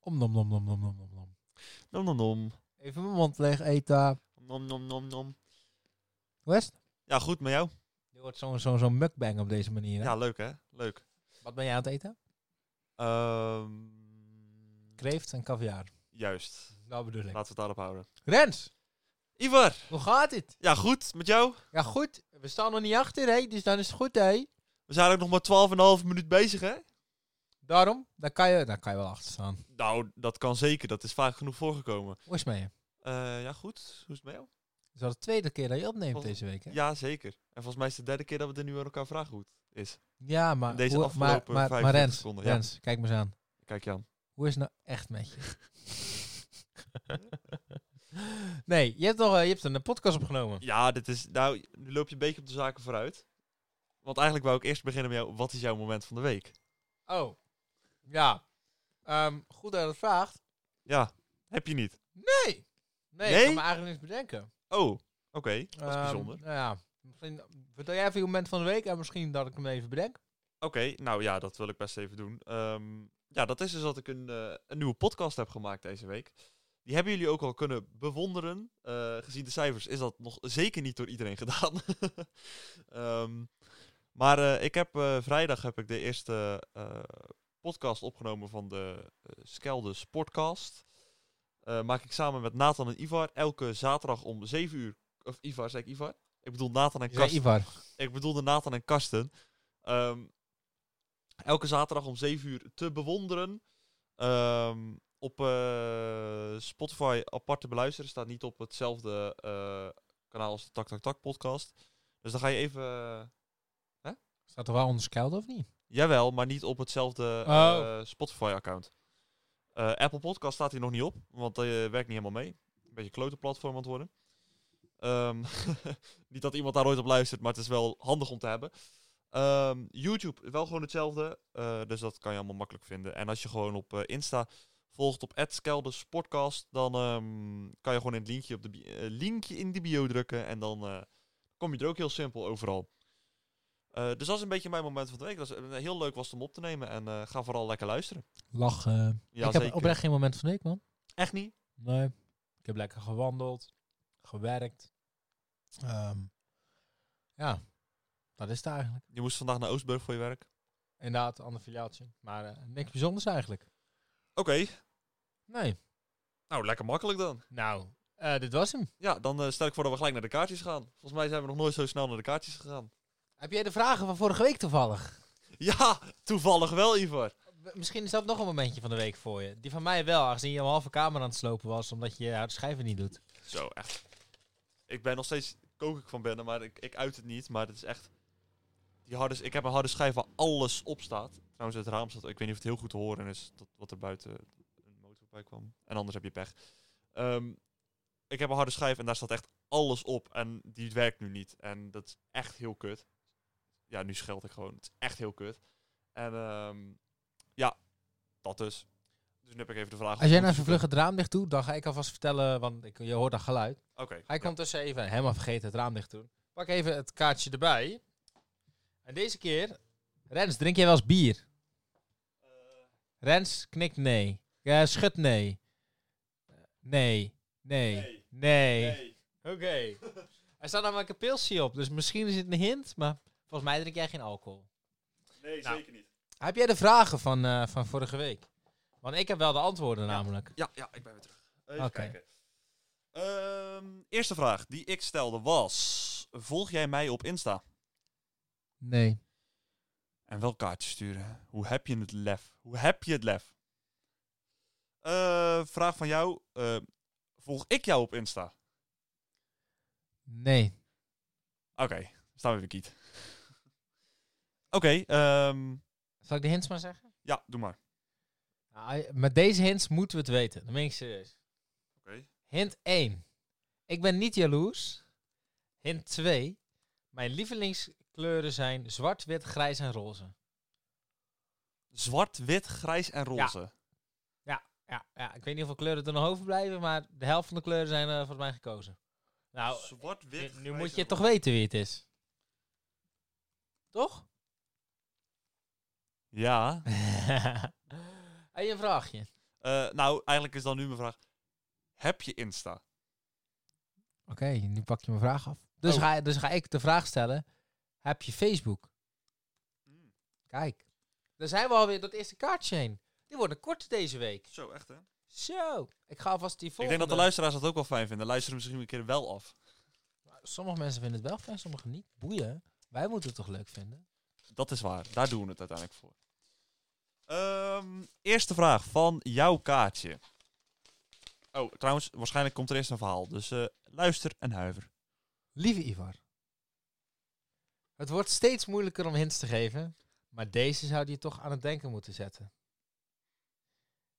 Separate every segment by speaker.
Speaker 1: Om nom nom nom nom nom nom nom.
Speaker 2: Nom nom nom.
Speaker 1: Even mijn mond leeg eten.
Speaker 2: Nom nom nom nom.
Speaker 1: West?
Speaker 2: Ja, goed met jou.
Speaker 1: Je wordt zo'n zo'n zo'n mukbang op deze manier. hè?
Speaker 2: Ja, leuk hè? Leuk.
Speaker 1: Wat ben jij aan het eten?
Speaker 2: Ehm,
Speaker 1: Kreeft en caviar.
Speaker 2: juist.
Speaker 1: Nou bedoel ik.
Speaker 2: Laten we het daarop houden.
Speaker 1: Rens,
Speaker 2: Ivar,
Speaker 1: hoe gaat het?
Speaker 2: ja goed, met jou?
Speaker 1: Ja goed, we staan nog niet achter hè, dus dan is het goed hè.
Speaker 2: We zijn ook nog maar 12,5 minuut bezig hè?
Speaker 1: Daarom, daar kan je, daar kan je wel achter staan.
Speaker 2: Nou, dat kan zeker. Dat is vaak genoeg voorgekomen.
Speaker 1: Hoe is het met je?
Speaker 2: Eh, ja, goed. Hoe is het met jou?
Speaker 1: Het is al de tweede keer dat je opneemt
Speaker 2: Vol-
Speaker 1: deze week hè?
Speaker 2: Ja, zeker. En volgens mij is het de derde keer dat we er nu aan elkaar vragen hoe het is.
Speaker 1: Ja, maar,
Speaker 2: Deze
Speaker 1: hoe- maar,
Speaker 2: afgelopen
Speaker 1: maar, maar
Speaker 2: 45
Speaker 1: Rens,
Speaker 2: seconden, ja.
Speaker 1: Rens, kijk me eens aan.
Speaker 2: Kijk Jan.
Speaker 1: Hoe is het nou echt met je? nee, je hebt, toch, eh, je hebt een podcast opgenomen.
Speaker 2: Ja, dit is... Nou, nu loop je een beetje op de zaken vooruit. Want eigenlijk wou ik eerst beginnen met jou. Wat is jouw moment van de week?
Speaker 1: Oh, ja. Ehm, goed dat je dat vraagt.
Speaker 2: Ja, heb je niet.
Speaker 1: Nee. Nee,
Speaker 2: Nee?
Speaker 1: ik kan me eigenlijk niks bedenken.
Speaker 2: Oh, oké. Dat is
Speaker 1: Ehm,
Speaker 2: bijzonder. Oké,
Speaker 1: Nou ja, misschien vertel jij even je moment van de week en misschien dat ik hem even bedenk.
Speaker 2: nou ja, dat wil ik best even doen. Ehm, ja, dat is dus dat ik een, eh, een nieuwe podcast heb gemaakt deze week. Die hebben jullie ook al kunnen bewonderen. Eh, gezien de cijfers is dat nog zeker niet door iedereen gedaan. Ehm, maar eh, ik heb eh, vrijdag heb ik de eerste eh, podcast opgenomen van de eh, Skelde Sportcast. Eh, maak ik samen met Nathan en Ivar elke zaterdag om 7 uur. Of Ivar, zeg ik Ivar? Ik bedoel Nathan en
Speaker 1: Je zei
Speaker 2: Karsten.
Speaker 1: Ivar.
Speaker 2: Ik bedoelde Nathan en Karsten. Ehm, elke zaterdag om 7 uur te bewonderen. Ehm, op eh, Spotify apart te beluisteren. Staat niet op hetzelfde eh, kanaal als de Tak Tak Tak podcast. Dus dan ga je even...
Speaker 1: Staat er wel onder Skelde of niet?
Speaker 2: Jawel, maar niet op hetzelfde
Speaker 1: Oh.
Speaker 2: eh, Spotify-account. Eh, Apple Podcast staat hier nog niet op, want dat werkt niet helemaal mee. Een beetje een klote platform aan het worden. Ehm, niet dat iemand daar ooit op luistert, maar het is wel handig om te hebben. Ehm, YouTube, wel gewoon hetzelfde. eh, dus dat kan je allemaal makkelijk vinden. En als je gewoon op eh, Insta volgt op @skelderspodcast, dan ehm, kan je gewoon in het linkje, op de bi- eh, linkje in de bio drukken. En dan eh, kom je er ook heel simpel overal. Eh, dus dat is een beetje mijn moment van de week. Dat is, eh, heel leuk was het om op te nemen. En eh, ga vooral lekker luisteren.
Speaker 1: Lachen.
Speaker 2: Ja,
Speaker 1: eh, ik heb
Speaker 2: zeker.
Speaker 1: oprecht geen moment van de week, man.
Speaker 2: Echt niet?
Speaker 1: Nee. Ik heb lekker gewandeld. Gewerkt. Ehm, ja, dat is het eigenlijk.
Speaker 2: Je moest vandaag naar Oostburg voor je werk.
Speaker 1: Inderdaad, ander filiaaltje. Maar eh, niks bijzonders eigenlijk.
Speaker 2: Oké,
Speaker 1: Nee.
Speaker 2: nou lekker makkelijk dan.
Speaker 1: Nou, eh, dit was hem.
Speaker 2: Ja, dan eh, stel ik voor dat we gelijk naar de kaartjes gaan. Volgens mij zijn we nog nooit zo snel naar de kaartjes gegaan.
Speaker 1: Heb jij de vragen van vorige week toevallig?
Speaker 2: Ja, toevallig wel, Ivar.
Speaker 1: W- Misschien is dat nog een momentje van de week voor je. Die van mij wel, aangezien je een halve kamer aan het slopen was, omdat je haar schijven niet doet.
Speaker 2: Zo, echt. Ik ben nog steeds kokig van binnen, maar ik, ik uit het niet. Maar het is echt... Die harde, ik heb een harde schijf waar alles op staat. Trouwens, het raam staat... Ik weet niet of het heel goed te horen is dat, wat er buiten een motor bij kwam. En anders heb je pech. Ehm, ik heb een harde schijf en daar staat echt alles op. En die werkt nu niet. En dat is echt heel kut. Ja, nu scheld ik gewoon. Het is echt heel kut. En ehm, ja, dat dus. Dus nu heb ik even de vraag...
Speaker 1: Als jij nou even vlug het raam dicht doet, dan ga ik alvast vertellen, want ik, je hoort dat geluid.
Speaker 2: Oké.
Speaker 1: Hij komt dus even helemaal vergeten het raam dicht te doen. Pak even het kaartje erbij. En deze keer, Rens, drink jij wel eens bier? Rens knikt nee. Ja, schudt nee. Nee, nee, nee.
Speaker 2: Nee. nee.
Speaker 1: Oké. Er staat namelijk een pilsje op, dus misschien is het een hint, maar volgens mij drink jij geen alcohol.
Speaker 2: Nee,
Speaker 1: Nou.
Speaker 2: zeker niet.
Speaker 1: Heb jij de vragen van, eh, van vorige week? Want ik heb wel de antwoorden namelijk.
Speaker 2: Ja, ja, ik ben weer terug. Even
Speaker 1: Oké.
Speaker 2: kijken. Ehm, eerste vraag die ik stelde was... Volg jij mij op Insta?
Speaker 1: Nee.
Speaker 2: En wel kaartjes sturen. Hoe heb je het lef? Hoe heb je het lef? Eh, vraag van jou. eh, volg ik jou op Insta?
Speaker 1: Nee.
Speaker 2: Oké, staan we weer kiet. Oké, ehm,
Speaker 1: Zal ik de hints maar zeggen?
Speaker 2: ja, doe maar.
Speaker 1: Nou, met deze hints moeten we het weten. Dan ben ik serieus.
Speaker 2: Oké.
Speaker 1: Hint 1. Ik ben niet jaloers. Hint 2. Mijn lievelingskleuren zijn zwart, wit, grijs en roze.
Speaker 2: Zwart, wit, grijs en roze.
Speaker 1: Ja, ja, ik weet niet hoeveel kleuren er nog overblijven, maar de helft van de kleuren zijn eh volgens mij gekozen. Nou,
Speaker 2: Zwart,
Speaker 1: nu,
Speaker 2: wit,
Speaker 1: nu
Speaker 2: grijs
Speaker 1: moet
Speaker 2: en
Speaker 1: je toch
Speaker 2: roze.
Speaker 1: weten wie het is. Toch?
Speaker 2: Ja,
Speaker 1: en je vraagje.
Speaker 2: Eh, nou, eigenlijk is dan nu mijn vraag. Heb je Insta?
Speaker 1: Oké, nu pak je mijn vraag af. Dus,
Speaker 2: Oh.
Speaker 1: ga, dus ga ik de vraag stellen: heb je Facebook?
Speaker 2: Hmm.
Speaker 1: Kijk, daar zijn we alweer door het eerste kaartje heen. Die worden kort deze week.
Speaker 2: Zo, echt hè?
Speaker 1: Zo, ik ga alvast die
Speaker 2: Ik
Speaker 1: volgende.
Speaker 2: denk dat de luisteraars dat ook wel fijn vinden. Luisteren misschien een keer wel af.
Speaker 1: Sommige mensen vinden het wel fijn, sommige niet. Boeien. Wij moeten het toch leuk vinden?
Speaker 2: Dat is waar. Daar doen we het uiteindelijk voor. Ehm, eerste vraag van jouw kaartje. Oh, trouwens, waarschijnlijk komt er eerst een verhaal. Dus eh, luister en huiver.
Speaker 1: Lieve Ivar. Het wordt steeds moeilijker om hints te geven, maar deze zou je toch aan het denken moeten zetten.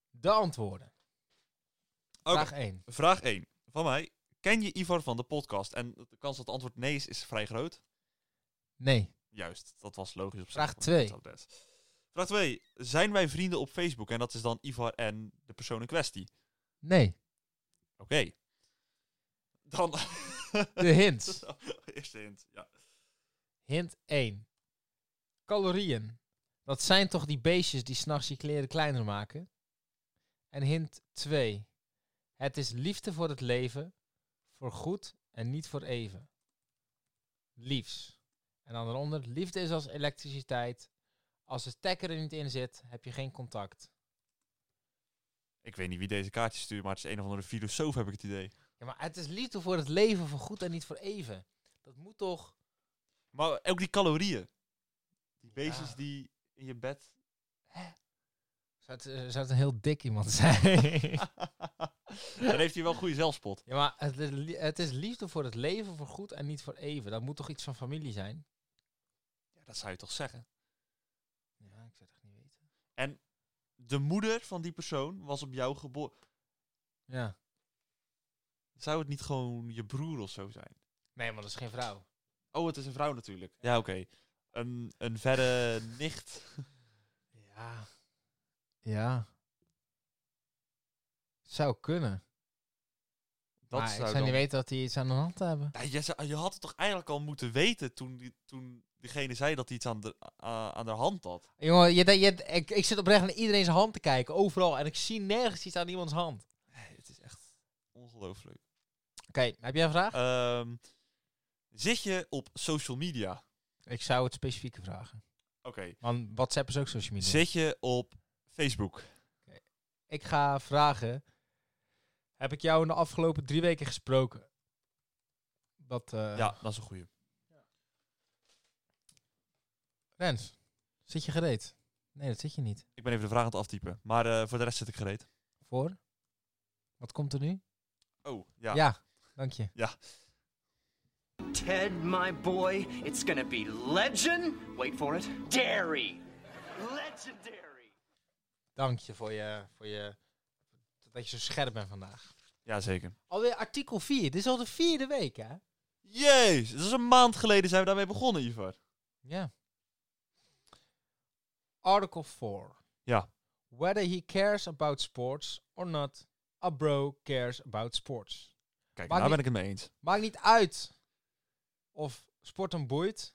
Speaker 1: De antwoorden.
Speaker 2: Oké.
Speaker 1: Vraag 1.
Speaker 2: Vraag 1 van mij. Ken je Ivar van de podcast? En de kans dat het antwoord nee is, is vrij groot.
Speaker 1: Nee.
Speaker 2: Juist, dat was logisch op zich.
Speaker 1: Vraag
Speaker 2: want
Speaker 1: twee.
Speaker 2: dat zou best. Vraag 2. Zijn wij vrienden op Facebook? En dat is dan Ivar en de persoon in kwestie.
Speaker 1: Nee.
Speaker 2: Oké. Dan...
Speaker 1: De hints.
Speaker 2: Eerste hint, ja.
Speaker 1: Hint 1. Calorieën. Dat zijn toch die beestjes die s'nachts je kleren kleiner maken? En hint 2. Het is liefde voor het leven, voor goed en niet voor even. Liefs. En dan eronder, liefde is als elektriciteit. Als de stekker er niet in zit, heb je geen contact.
Speaker 2: Ik weet niet wie deze kaartjes stuurt, maar het is een of andere filosoof, heb ik het idee.
Speaker 1: Ja, maar het is liefde voor het leven, voor goed en niet voor even. Dat moet toch...
Speaker 2: Maar ook die calorieën. Die beestjes
Speaker 1: Ja.
Speaker 2: die in je bed...
Speaker 1: Zou het, eh, zou het een heel dik iemand zijn?
Speaker 2: Dan heeft hij wel goede zelfspot.
Speaker 1: Ja, maar het, is li- het is liefde voor het leven, voor goed en niet voor even. Dat moet toch iets van familie zijn?
Speaker 2: Ja, dat zou je toch zeggen?
Speaker 1: Ja, ik zou het echt niet weten.
Speaker 2: De moeder van die persoon was op jou geboren.
Speaker 1: Ja.
Speaker 2: Zou het niet gewoon je broer of zo zijn?
Speaker 1: Nee, maar dat is geen vrouw.
Speaker 2: Oh, het is een vrouw natuurlijk. Ja, oké. Een, een verre nicht.
Speaker 1: Ja. Ja. Zou kunnen.
Speaker 2: Dat
Speaker 1: maar
Speaker 2: zou
Speaker 1: ik zou
Speaker 2: dan-
Speaker 1: niet weten dat die iets aan de hand hebben.
Speaker 2: Ja, je, zou- je had het toch eigenlijk al moeten weten toen, die, toen diegene zei dat hij iets aan de, a- aan de hand had.
Speaker 1: Jongen, je, je, ik, ik zit oprecht naar iedereen zijn hand te kijken, overal. En ik zie nergens iets aan iemands hand. Oké,
Speaker 2: Nee, het is echt ongelooflijk.
Speaker 1: heb jij een vraag?
Speaker 2: Ehm, zit je op social media? Oké.
Speaker 1: ik zou het specifieke vragen. Want WhatsApp is ook social media.
Speaker 2: Zit je op Facebook?
Speaker 1: Ik ga vragen. Heb ik jou in de afgelopen drie weken gesproken? Dat, eh,
Speaker 2: ja, dat is een goeie.
Speaker 1: Rens, zit je gereed? Nee, dat zit je niet.
Speaker 2: Ik ben even de vraag aan het aftypen. Maar eh, voor de rest zit ik gereed.
Speaker 1: Voor? Wat komt er nu?
Speaker 2: Oh, ja.
Speaker 1: dank je.
Speaker 3: Ted, my boy, it's gonna be legend. Wait for it. Dairy. Legendary.
Speaker 1: Dank je voor je, voor je... Dat je zo scherp bent vandaag.
Speaker 2: ja zeker.
Speaker 1: Alweer artikel 4. Dit is al de vierde week, hè?
Speaker 2: Jezus, dat is een maand geleden zijn we daarmee begonnen, Ivar.
Speaker 1: Ja. Article 4.
Speaker 2: Ja.
Speaker 1: Whether he cares about sports or not, a bro cares about sports.
Speaker 2: Kijk,
Speaker 1: Maar
Speaker 2: daar
Speaker 1: die-
Speaker 2: ben ik het mee eens.
Speaker 1: Maakt niet uit of sport hem boeit.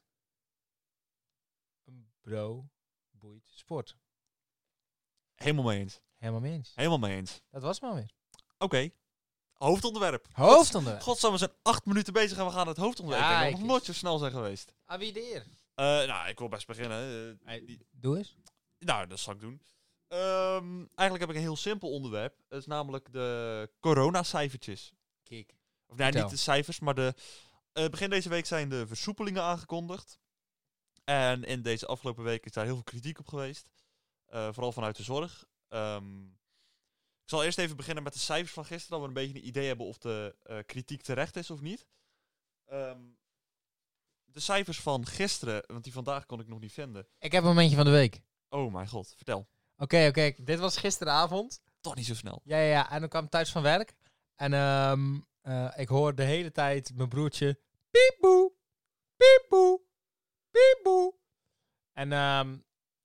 Speaker 1: Een bro boeit sport.
Speaker 2: Helemaal mee eens.
Speaker 1: Helemaal mee eens.
Speaker 2: Helemaal mee eens.
Speaker 1: Dat was maar weer.
Speaker 2: Oké. Hoofdonderwerp.
Speaker 1: Hoofdonderwerp.
Speaker 2: Godsamme, we zijn acht minuten bezig en we gaan het hoofdonderwerp.
Speaker 1: Eh. Ja,
Speaker 2: Ja,
Speaker 1: ik-
Speaker 2: nog nooit zo snel zijn geweest.
Speaker 1: Aan wie de eer?
Speaker 2: Eh, nou, ik wil best beginnen. eh, die-
Speaker 1: Doe eens.
Speaker 2: nou, dat zal ik doen. Ehm, eigenlijk heb ik een heel simpel onderwerp. Dat is namelijk de coronacijfertjes.
Speaker 1: Kik.
Speaker 2: Of nee,
Speaker 1: Vertel.
Speaker 2: niet de cijfers, maar de... eh, begin deze week zijn de versoepelingen aangekondigd. En in deze afgelopen week is daar heel veel kritiek op geweest. Eh, vooral vanuit de zorg. Ehm, ik zal eerst even beginnen met de cijfers van gisteren, dat we een beetje een idee hebben of de eh, kritiek terecht is of niet. Ehm, de cijfers van gisteren, want die vandaag kon ik nog niet vinden.
Speaker 1: Ik heb een momentje van de week. Oké,
Speaker 2: Oh mijn god, vertel.
Speaker 1: oké. Dit was gisteravond.
Speaker 2: Toch niet zo snel.
Speaker 1: Ja, ja, ja. En dan kwam ik thuis van werk. En ehm, eh, ik hoor de hele tijd mijn broertje... Piepboe. Piepboe. Piepboe. En, ehm,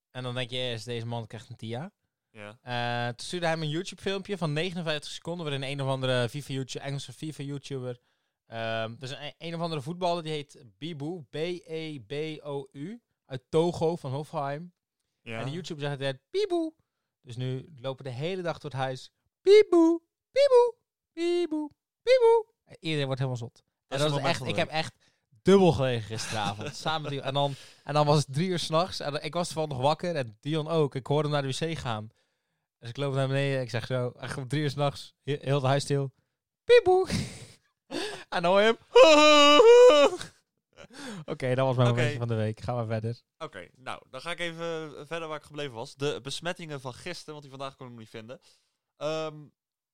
Speaker 1: en dan denk je eerst, deze man krijgt een TIA.
Speaker 2: Ja.
Speaker 1: Eh, toen stuurde hij me een YouTube-filmpje van 59 seconden. waarin een of andere FIFA-YouTuber, Engelse FIFA-YouTuber. ehm dus een, een of andere voetballer die heet Bibu. E B-E-B-O-U. Uit Togo van Hofheim.
Speaker 2: ja.
Speaker 1: En de YouTube zegt het Bibu. Dus nu lopen de hele dag door het huis. Pieboe, pieboe, pieboe, pieboe. En iedereen wordt helemaal zot. En
Speaker 2: is
Speaker 1: dat
Speaker 2: het
Speaker 1: is
Speaker 2: moment
Speaker 1: echt,
Speaker 2: van
Speaker 1: ik
Speaker 2: de
Speaker 1: heb echt dubbel gelegen gisteravond. samen met Dion. En dan, en dan was het drie uur s'nachts. En ik was ervan nog wakker. En Dion ook. Ik hoorde hem naar de wc gaan. Dus ik loop naar beneden. Ik zeg zo, echt om drie uur s'nachts. Heel heel het huis stil. Pieboe. en dan hoor je hem. Oké, dat was mijn
Speaker 2: Oké.
Speaker 1: momentje van de week. Gaan we verder.
Speaker 2: Oké, nou, dan ga ik even eh, verder waar ik gebleven was. De besmettingen van gisteren, want die vandaag kon ik nog niet vinden. Ehm,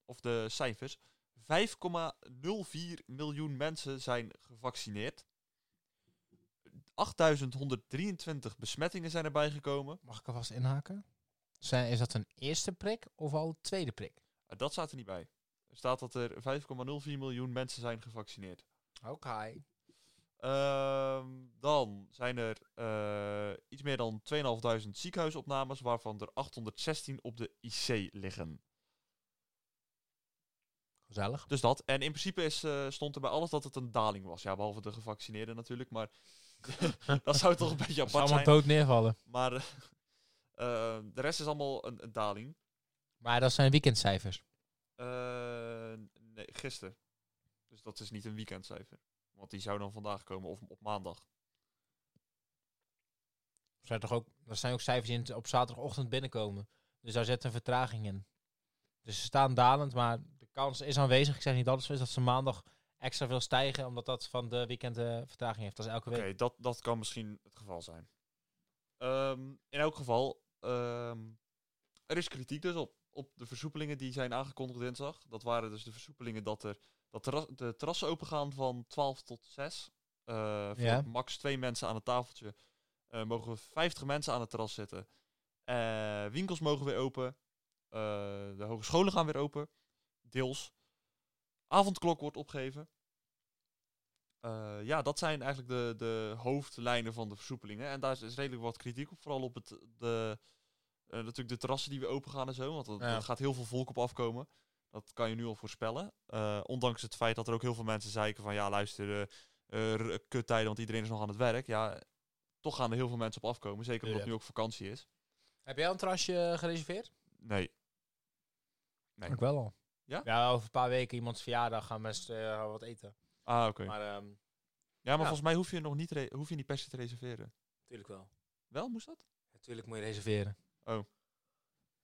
Speaker 2: of de cijfers. 5,04 miljoen mensen zijn gevaccineerd. 8123 besmettingen zijn erbij gekomen.
Speaker 1: Mag ik alvast inhaken? Zijn, is dat een eerste prik of al een tweede prik?
Speaker 2: Eh, Dat staat er niet bij. Er staat dat er 5,04 miljoen mensen zijn gevaccineerd.
Speaker 1: Oké.
Speaker 2: Ehm, dan zijn er eh, iets meer dan 2500 ziekenhuisopnames, waarvan er 816 op de IC liggen.
Speaker 1: Gezellig.
Speaker 2: Dus dat. En in principe is, eh, stond er bij alles dat het een daling was. Ja, behalve de gevaccineerden natuurlijk. Maar dat zou toch een beetje
Speaker 1: Ze
Speaker 2: apart
Speaker 1: allemaal
Speaker 2: zijn.
Speaker 1: dood neervallen.
Speaker 2: Maar eh, eh, de rest is allemaal een, een daling.
Speaker 1: Maar dat zijn weekendcijfers.
Speaker 2: Eh, nee, gisteren. Dus dat is niet een weekendcijfer. Want die zou dan vandaag komen of op maandag.
Speaker 1: Er zijn toch ook, er zijn ook cijfers die in het- op zaterdagochtend binnenkomen. Dus daar zit een vertraging in. Dus ze staan dalend, maar de kans is aanwezig. Ik zeg niet dat het zo is dat ze maandag extra veel stijgen, omdat dat van de weekend eh, vertraging heeft. Dat is elke
Speaker 2: Oké,
Speaker 1: week.
Speaker 2: dat, dat kan misschien het geval zijn. Ehm, in elk geval, ehm, er is kritiek dus op, op de versoepelingen die zijn aangekondigd dinsdag. Dat waren dus de versoepelingen dat, er, dat terras- de terrassen opengaan van 12 tot 6. Eh, voor
Speaker 1: Ja.
Speaker 2: max twee mensen aan het tafeltje. Eh, mogen 50 mensen aan het terras zitten. Eh, winkels mogen weer open. Eh, de hogescholen gaan weer open. Deels. Avondklok wordt opgegeven. Eh, ja, dat zijn eigenlijk de, de hoofdlijnen van de versoepelingen. En daar is, is redelijk wat kritiek op. Vooral op het, de, eh, natuurlijk de terrassen die weer open gaan en zo. Want er
Speaker 1: Ja.
Speaker 2: er gaat heel veel volk op afkomen. Dat kan je nu al voorspellen. Eh, ondanks het feit dat er ook heel veel mensen zeiken van... Ja, luister, eh, eh, r- kuttijden, want iedereen is nog aan het werk. Ja, toch gaan er heel veel mensen op afkomen. Zeker omdat
Speaker 1: Ja.
Speaker 2: nu ook vakantie is.
Speaker 1: Heb jij een terrasje eh, gereserveerd?
Speaker 2: Nee. Nee.
Speaker 1: Ik wel al.
Speaker 2: Ja?
Speaker 1: Ja, over een paar weken iemands verjaardag gaan mensen eh, wat eten.
Speaker 2: Ah, oké.
Speaker 1: Maar ehm
Speaker 2: Ja, maar
Speaker 1: Ja.
Speaker 2: volgens mij hoef je nog niet, re- hoef je niet per se te reserveren.
Speaker 1: natuurlijk wel.
Speaker 2: Wel, moest dat?
Speaker 1: Natuurlijk moet je reserveren.
Speaker 2: Oh.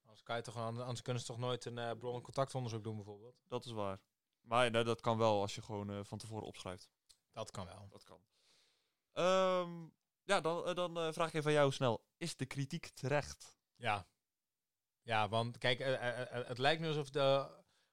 Speaker 1: Anders, kan je toch, an- anders kunnen ze toch nooit een eh, bron- en contactonderzoek doen, bijvoorbeeld?
Speaker 2: Dat is waar. Maar nou, dat kan wel als je gewoon eh, van tevoren opschrijft.
Speaker 1: Dat kan wel.
Speaker 2: Dat kan. Ehm, ja, dan, eh, dan eh, vraag ik even aan jou snel. Is de kritiek terecht?
Speaker 1: Ja. Ja, want kijk, eh, eh, eh, het lijkt nu alsof, de,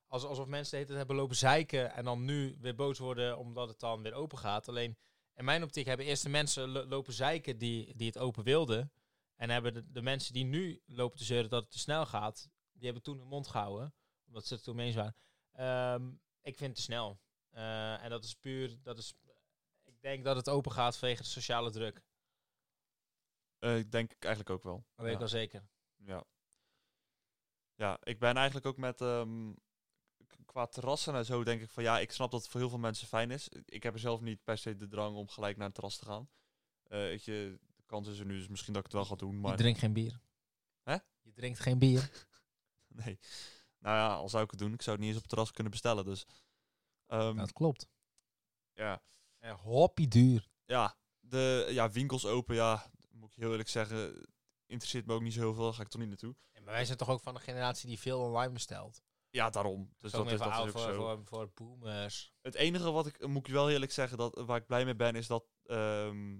Speaker 1: als, alsof mensen de hele tijd hebben lopen zeiken en dan nu weer boos worden omdat het dan weer open gaat. Alleen in mijn optiek hebben eerst de mensen lo- lopen zeiken die, die het open wilden. En hebben de, de mensen die nu lopen te zeuren dat het te snel gaat, die hebben toen hun mond gehouden. Omdat ze het toen mee eens waren. Ehm, ik vind het te snel. Eh, en dat is puur, dat is, ik denk dat het open gaat vanwege de sociale druk.
Speaker 2: Eh, Ik denk ik eigenlijk ook wel.
Speaker 1: Dat weet ik
Speaker 2: ja.
Speaker 1: wel zeker.
Speaker 2: ja. Ja, ik ben eigenlijk ook met... ehm, k- qua terrassen en zo denk ik van... Ja, ik snap dat het voor heel veel mensen fijn is. Ik heb er zelf niet per se de drang om gelijk naar een terras te gaan. Eh, weet je, de kans is er nu dus misschien dat ik het wel ga doen. Maar
Speaker 1: Je drinkt geen bier.
Speaker 2: Hè?
Speaker 1: Je drinkt geen bier.
Speaker 2: Nee. Nou ja, al zou ik het doen, ik zou het niet eens op het terras kunnen bestellen. Dus ehm,
Speaker 1: Dat klopt.
Speaker 2: ja,
Speaker 1: En hoppie duur.
Speaker 2: ja, de ja, winkels open, ja, moet ik heel eerlijk zeggen, interesseert me ook niet zo heel veel. Daar ga ik toch niet naartoe.
Speaker 1: maar wij zijn toch ook van een generatie die veel online bestelt.
Speaker 2: Ja, daarom. Dus
Speaker 1: Dus dat
Speaker 2: dat is, dat is
Speaker 1: voor,
Speaker 2: ook
Speaker 1: voor,
Speaker 2: zo.
Speaker 1: voor, voor boomers.
Speaker 2: Het enige wat ik, moet ik wel eerlijk zeggen, dat, waar ik blij mee ben, is dat, ehm,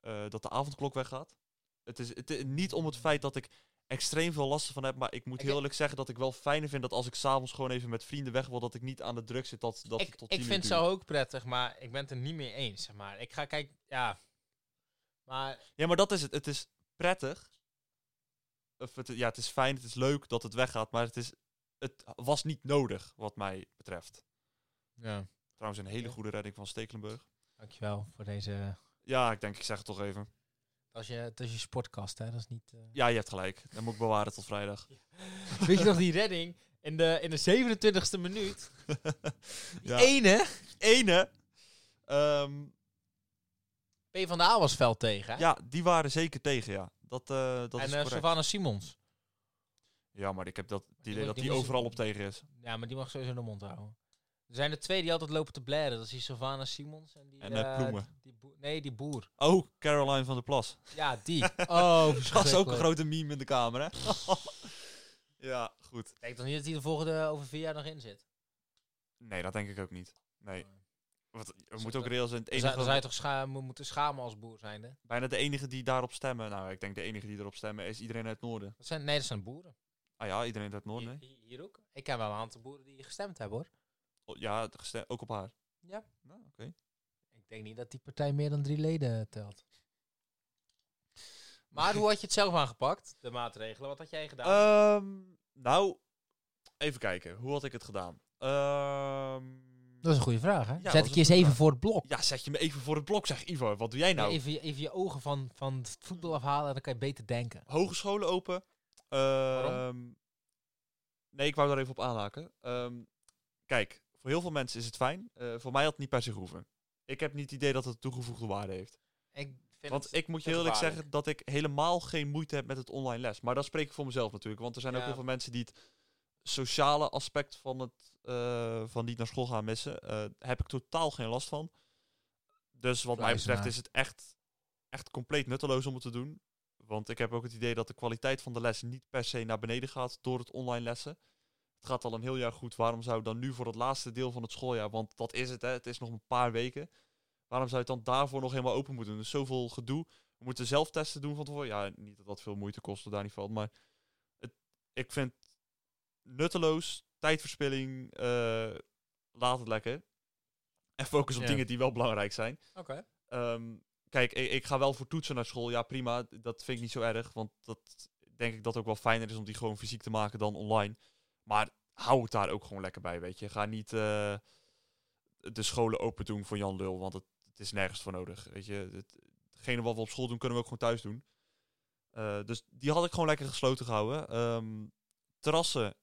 Speaker 2: eh, dat de avondklok weggaat. Het is, het is niet om het feit dat ik extreem veel last van heb, maar ik moet
Speaker 1: Ik-
Speaker 2: heel eerlijk zeggen dat ik wel fijner vind dat als ik s'avonds gewoon even met vrienden weg wil, dat ik niet aan de druk zit dat, dat het
Speaker 1: Ik,
Speaker 2: tot
Speaker 1: ik
Speaker 2: tien uur
Speaker 1: vind
Speaker 2: duurt.
Speaker 1: zo ook prettig, maar ik ben het er niet mee eens. Zeg maar ik ga kijken, ja. Maar
Speaker 2: Ja, maar dat is het. Het is prettig. Of het, ja, het is fijn, het is leuk dat het weggaat, maar het, is, het was niet nodig, wat mij betreft.
Speaker 1: ja.
Speaker 2: Trouwens, een hele
Speaker 1: Oké.
Speaker 2: goede redding van Stekelenburg.
Speaker 1: dankjewel voor deze.
Speaker 2: Ja, ik denk, ik zeg het toch even.
Speaker 1: Dat is je, dat is je sportkast, hè? Dat is niet. eh.
Speaker 2: Ja, je hebt gelijk. Dan moet ik bewaren tot vrijdag.
Speaker 1: Weet je nog die redding in de, in de 27e minuut? Die
Speaker 2: Ja.
Speaker 1: ene.
Speaker 2: Ene, ehm,
Speaker 1: P van de A was veld tegen. Hè?
Speaker 2: ja, die waren zeker tegen, ja. Dat, eh, dat
Speaker 1: en
Speaker 2: is
Speaker 1: eh
Speaker 2: correct.
Speaker 1: Savannah Simons.
Speaker 2: Ja, maar ik heb dat het idee
Speaker 1: wil-
Speaker 2: dat
Speaker 1: die
Speaker 2: die
Speaker 1: is-
Speaker 2: overal op tegen is.
Speaker 1: Ja, maar die mag sowieso de mond houden. Er zijn er twee die altijd lopen te blaren. Dat is die Sylvana Simons en die...
Speaker 2: En, eh,
Speaker 1: eh,
Speaker 2: Ploemen.
Speaker 1: die boer- nee, die boer.
Speaker 2: Oh, Caroline van der Plas.
Speaker 1: Ja, die. Oh,
Speaker 2: Dat is ook een
Speaker 1: verschrikkelijk.
Speaker 2: grote meme in de kamer, hè? ja, goed.
Speaker 1: Ik denk toch niet dat hij de volgende eh, over vier jaar nog in zit.
Speaker 2: Nee, dat denk ik ook niet. Nee. Want we
Speaker 1: Zo-
Speaker 2: moeten ook reëel zijn. Het
Speaker 1: Dan zou, dan zou je
Speaker 2: enige,
Speaker 1: toch scha mo- moeten schamen als boer zijnde?
Speaker 2: bijna de enige die daarop stemmen. Nou, ik denk de enige die erop stemmen is iedereen uit het noorden.
Speaker 1: Dat zijn, nee, dat zijn boeren.
Speaker 2: Ah ja, iedereen uit het noorden.
Speaker 1: Hier,
Speaker 2: hè?
Speaker 1: hier- hier ook. Ik ken wel een aantal boeren die gestemd hebben, hoor.
Speaker 2: Oh, Ja, het gestem- ook op haar.
Speaker 1: Ja.
Speaker 2: Nou, oké.
Speaker 1: Ik denk niet dat die partij meer dan drie leden telt. Maar hoe had je het zelf aangepakt, de maatregelen? Wat had jij gedaan?
Speaker 2: Ehm, nou, even kijken. Hoe had ik het gedaan? Ehm,
Speaker 1: dat is een goede vraag, hè?
Speaker 2: dat
Speaker 1: Zet ik
Speaker 2: is een
Speaker 1: je eens
Speaker 2: goede
Speaker 1: even
Speaker 2: vraag.
Speaker 1: voor het blok.
Speaker 2: ja, zet je me even voor het blok, zeg Ivo. Wat doe jij nou?
Speaker 1: Even, je- even je ogen van, van het voetbal afhalen en dan kan je beter denken.
Speaker 2: hogescholen open. Ehm, nee, ik wou daar even op aanhaken. Ehm, kijk, voor heel veel mensen is het fijn. Eh, voor mij had het niet per se hoeven. Ik heb niet het idee dat het toegevoegde waarde heeft.
Speaker 1: Ik vind
Speaker 2: Want
Speaker 1: het-
Speaker 2: ik moet je
Speaker 1: te
Speaker 2: heel eerlijk
Speaker 1: gevaarlijk.
Speaker 2: zeggen dat ik helemaal geen moeite heb met het online les. Maar dat spreek ik voor mezelf natuurlijk. Want er zijn ook
Speaker 1: Ja.
Speaker 2: heel veel mensen die het sociale aspect van het eh, van niet naar school gaan missen. Eh heb ik totaal geen last van. Dus wat mij
Speaker 1: Kluizenaar.
Speaker 2: betreft is het echt, echt compleet nutteloos om het te doen. Want ik heb ook het idee dat de kwaliteit van de les niet per se naar beneden gaat door het online lessen. Het gaat al een heel jaar goed. Waarom zou dan nu voor het laatste deel van het schooljaar, want dat is het, hè, het is nog een paar weken. Waarom zou je het dan daarvoor nog helemaal open moeten doen? Dus zoveel gedoe. We moeten zelf testen doen van tevoren. Ja, niet dat dat veel moeite kost, dat daar niet valt. Maar het, ik vind het nutteloos, tijdverspilling, eh, laat het lekker. En focus op
Speaker 1: Ja.
Speaker 2: dingen die wel belangrijk zijn.
Speaker 1: Oké.
Speaker 2: Ehm, kijk, ik, ik ga wel voor toetsen naar school. Ja, prima. Dat vind ik niet zo erg. Want dat denk ik dat ook wel fijner is om die gewoon fysiek te maken dan online. Maar hou het daar ook gewoon lekker bij, weet je. Ga niet eh, de scholen open doen voor Jan Lul, want het, het is nergens voor nodig. Weet je, het, hetgene wat we op school doen, kunnen we ook gewoon thuis doen. Eh, dus die had ik gewoon lekker gesloten gehouden. Ehm, terrassen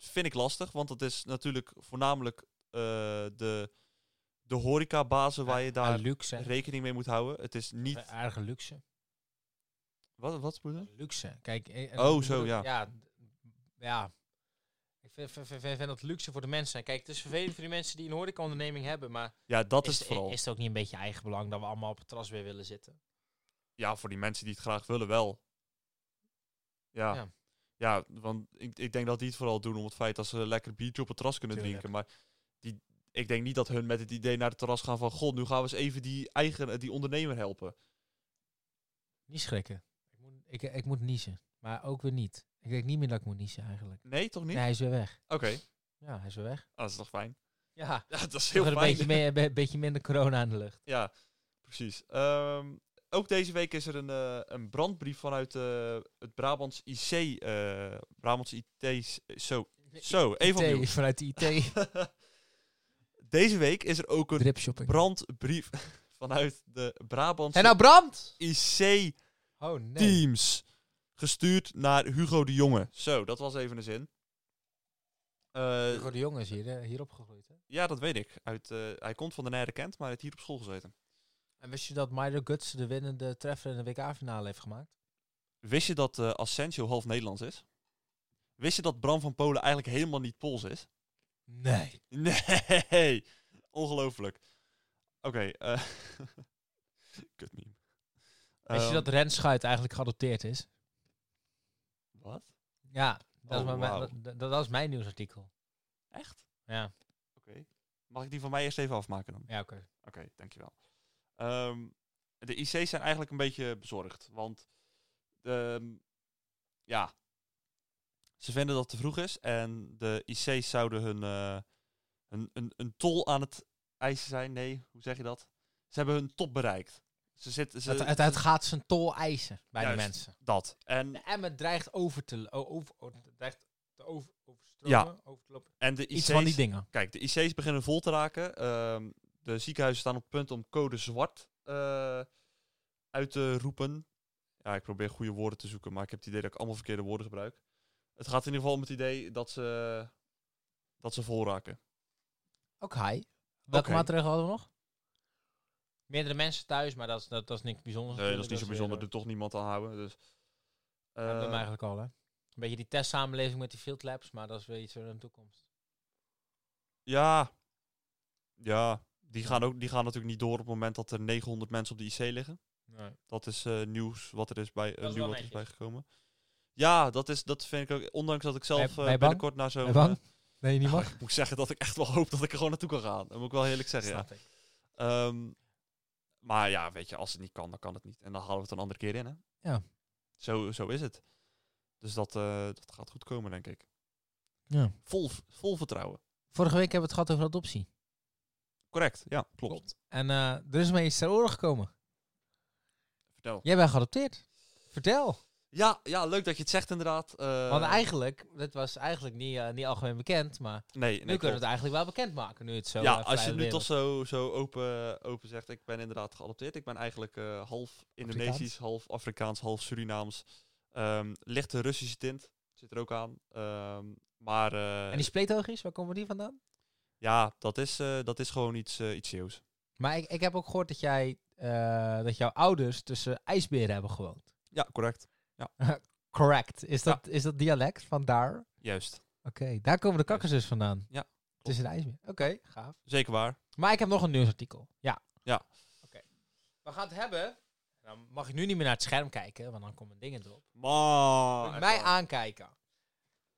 Speaker 2: vind ik lastig, want dat is natuurlijk voornamelijk eh, de, de horecabazen waar je daar
Speaker 1: Ah, Luxe. hè?
Speaker 2: rekening mee moet houden. Het is niet.
Speaker 1: Aardige luxe.
Speaker 2: Wat, wat bedoel je?
Speaker 1: Luxe. Kijk. eh, en
Speaker 2: Oh,
Speaker 1: dat
Speaker 2: zo,
Speaker 1: bedoel-
Speaker 2: ja.
Speaker 1: Ja. d- ja. Ik vind, vind, vind, vind dat luxe voor de mensen. Kijk, het is vervelend voor die mensen die een horecaonderneming hebben, maar
Speaker 2: Ja, dat is,
Speaker 1: is,
Speaker 2: het vooral.
Speaker 1: is het ook niet een beetje eigenbelang dat we allemaal op het terras weer willen zitten?
Speaker 2: Ja, voor die mensen die het graag willen, wel. Ja.
Speaker 1: Ja.
Speaker 2: Ja, want ik, ik denk dat die het vooral doen om het feit dat ze lekker biertje op het terras kunnen
Speaker 1: Tuurlijk.
Speaker 2: drinken. Maar die, ik denk niet dat hun met het idee naar het terras gaan van... God, nu gaan we eens even die, eigen, eh, die ondernemer helpen.
Speaker 1: Niet schrikken. Ik moet, ik, ik moet niezen, maar ook weer niet. Ik denk niet meer dat ik moet niezen eigenlijk.
Speaker 2: Nee, toch niet?
Speaker 1: Nee, hij is weer weg.
Speaker 2: Oké,
Speaker 1: Ja, hij is weer weg.
Speaker 2: Ah, dat is toch fijn?
Speaker 1: Ja,
Speaker 2: Ja, dat is heel
Speaker 1: toch een
Speaker 2: fijn.
Speaker 1: beetje, meer, een beetje minder corona aan de lucht.
Speaker 2: Ja, precies. Ehm, ook deze week is er een, eh, een brandbrief vanuit eh, het Brabants IC. eh, Brabants IT. Zo, zo even opnieuw.
Speaker 1: IT, vanuit de IT.
Speaker 2: Deze week is er ook een
Speaker 1: Dripshopping.
Speaker 2: brandbrief vanuit de Brabantse
Speaker 1: En nou brand!
Speaker 2: IC
Speaker 1: Oh nee.
Speaker 2: Teams. Gestuurd naar Hugo de Jonge. Zo, dat was even een zin. Eh,
Speaker 1: Hugo de Jong is hier, eh, hier opgegroeid. Hè?
Speaker 2: ja, dat weet ik. Uit, eh, hij komt van de Nijre Kent, maar hij heeft hier op school gezeten.
Speaker 1: En wist je dat Milo Guts de winnende treffer in de WK-finale heeft gemaakt?
Speaker 2: Wist je dat eh Asensio half Nederlands is? Wist je dat Bram van Polen eigenlijk helemaal niet Pools is?
Speaker 1: Nee.
Speaker 2: Nee, ongelooflijk. Oké, eh kut meme.
Speaker 1: Wist je
Speaker 2: Ehm,
Speaker 1: dat Rens Schuit eigenlijk geadopteerd is?
Speaker 2: Wat?
Speaker 1: Ja, dat,
Speaker 2: Oh,
Speaker 1: is mijn,
Speaker 2: wauw.
Speaker 1: dat- dat, dat is mijn nieuwsartikel.
Speaker 2: Echt?
Speaker 1: Ja,
Speaker 2: Oké. Mag ik die van mij eerst even afmaken dan?
Speaker 1: ja oké.
Speaker 2: Oké, dankjewel. Ehm, de IC's zijn eigenlijk een beetje bezorgd, want ehm, ja, ze vinden dat het te vroeg is en de IC's zouden hun eh, een, een, een tol aan het eisen zijn. Nee, hoe zeg je dat? Ze hebben hun top bereikt. Ze zitten, ze,
Speaker 1: Het, het, het gaat zijn tol eisen bij de
Speaker 2: Juist.
Speaker 1: mensen.
Speaker 2: dat. En,
Speaker 1: De Emmen dreigt over te, lo- o- over, o- dreigt te over, overstromen,
Speaker 2: Ja.
Speaker 1: over te lopen.
Speaker 2: en de IC's,
Speaker 1: Iets van die dingen.
Speaker 2: Kijk, de IC's beginnen vol te raken. Ehm, de ziekenhuizen staan op het punt om code zwart eh, uit te roepen. Ja, ik probeer goede woorden te zoeken, maar ik heb het idee dat ik allemaal verkeerde woorden gebruik. Het gaat in ieder geval om het idee dat ze, dat ze vol raken.
Speaker 1: Ook hij. Welke
Speaker 2: Oké.
Speaker 1: maatregelen hadden we nog? Meerdere mensen thuis, maar dat is, dat, dat is niks bijzonders.
Speaker 2: Nee, dat is
Speaker 1: natuurlijk.
Speaker 2: niet zo bijzonder.
Speaker 1: weer,
Speaker 2: Er toch niemand aan houden. Dus,
Speaker 1: eh, dat hebben we hem
Speaker 2: Eh,
Speaker 1: eigenlijk al, hè? Een beetje die testsamenleving met die field labs, maar dat is weer iets voor de toekomst.
Speaker 2: Ja. Ja. Die gaan, ook, die gaan natuurlijk niet door op het moment dat er 900 mensen op de IC liggen. Dat is eh, nieuws wat er is bij, eh,
Speaker 1: Dat is
Speaker 2: nieuw
Speaker 1: wel
Speaker 2: wat er is
Speaker 1: netjes.
Speaker 2: bijgekomen. Ja, dat, is, dat vind ik ook. Ondanks dat ik zelf
Speaker 1: bij
Speaker 2: eh,
Speaker 1: Ban?
Speaker 2: binnenkort naar zo'n.
Speaker 1: En dan?
Speaker 2: eh,
Speaker 1: Nee, niet mag.
Speaker 2: ik moet zeggen dat ik echt wel hoop dat ik er gewoon naartoe kan gaan. Dat moet ik wel eerlijk zeggen. Ja.
Speaker 1: Snap ik.
Speaker 2: Ehm, maar ja, weet je, als het niet kan, dan kan het niet. En dan halen we het een andere keer in, hè?
Speaker 1: Ja.
Speaker 2: Zo, zo is het. Dus dat, eh, dat gaat goed komen, denk ik.
Speaker 1: Ja.
Speaker 2: Vol, vol vertrouwen.
Speaker 1: Vorige week hebben we het gehad over adoptie.
Speaker 2: Correct, ja, klopt.
Speaker 1: En eh, er is mij iets ter oren gekomen.
Speaker 2: Vertel.
Speaker 1: Jij bent geadopteerd. Vertel.
Speaker 2: Ja, ja, leuk dat je het zegt, inderdaad. Eh,
Speaker 1: Want eigenlijk, dit was eigenlijk niet, eh, niet algemeen bekend, maar
Speaker 2: Nee, nee
Speaker 1: nu kunnen we
Speaker 2: klopt.
Speaker 1: het eigenlijk wel bekendmaken. Nu het zo
Speaker 2: ja,
Speaker 1: eh,
Speaker 2: als
Speaker 1: vrij
Speaker 2: je het nu
Speaker 1: wereld-
Speaker 2: toch zo, zo open, open zegt, ik ben inderdaad geadopteerd. Ik ben eigenlijk eh, half Indonesisch,
Speaker 1: Afrikaans.
Speaker 2: half Afrikaans, half Surinaams. Ehm, lichte Russische tint zit er ook aan. Ehm, maar eh,
Speaker 1: En die spleetoogjes, waar komen die vandaan?
Speaker 2: ja, dat is, eh, dat is gewoon iets, eh iets Zeeuws.
Speaker 1: Maar ik, ik heb ook gehoord dat, jij, eh, dat jouw ouders tussen ijsberen hebben gewoond.
Speaker 2: Ja, correct.
Speaker 1: Correct. Is dat, is dat dialect van daar? Oké,
Speaker 2: Juist.
Speaker 1: daar komen de kakkers dus vandaan.
Speaker 2: Ja,
Speaker 1: Tussen de ijsberen. Oké, gaaf.
Speaker 2: Zeker waar.
Speaker 1: Maar ik heb nog een nieuwsartikel. Ja.
Speaker 2: Ja.
Speaker 1: Oké. We gaan het hebben. Dan mag ik nu niet meer naar het scherm kijken, want dan komen dingen erop.
Speaker 2: Maar...
Speaker 1: Met mij aankijken.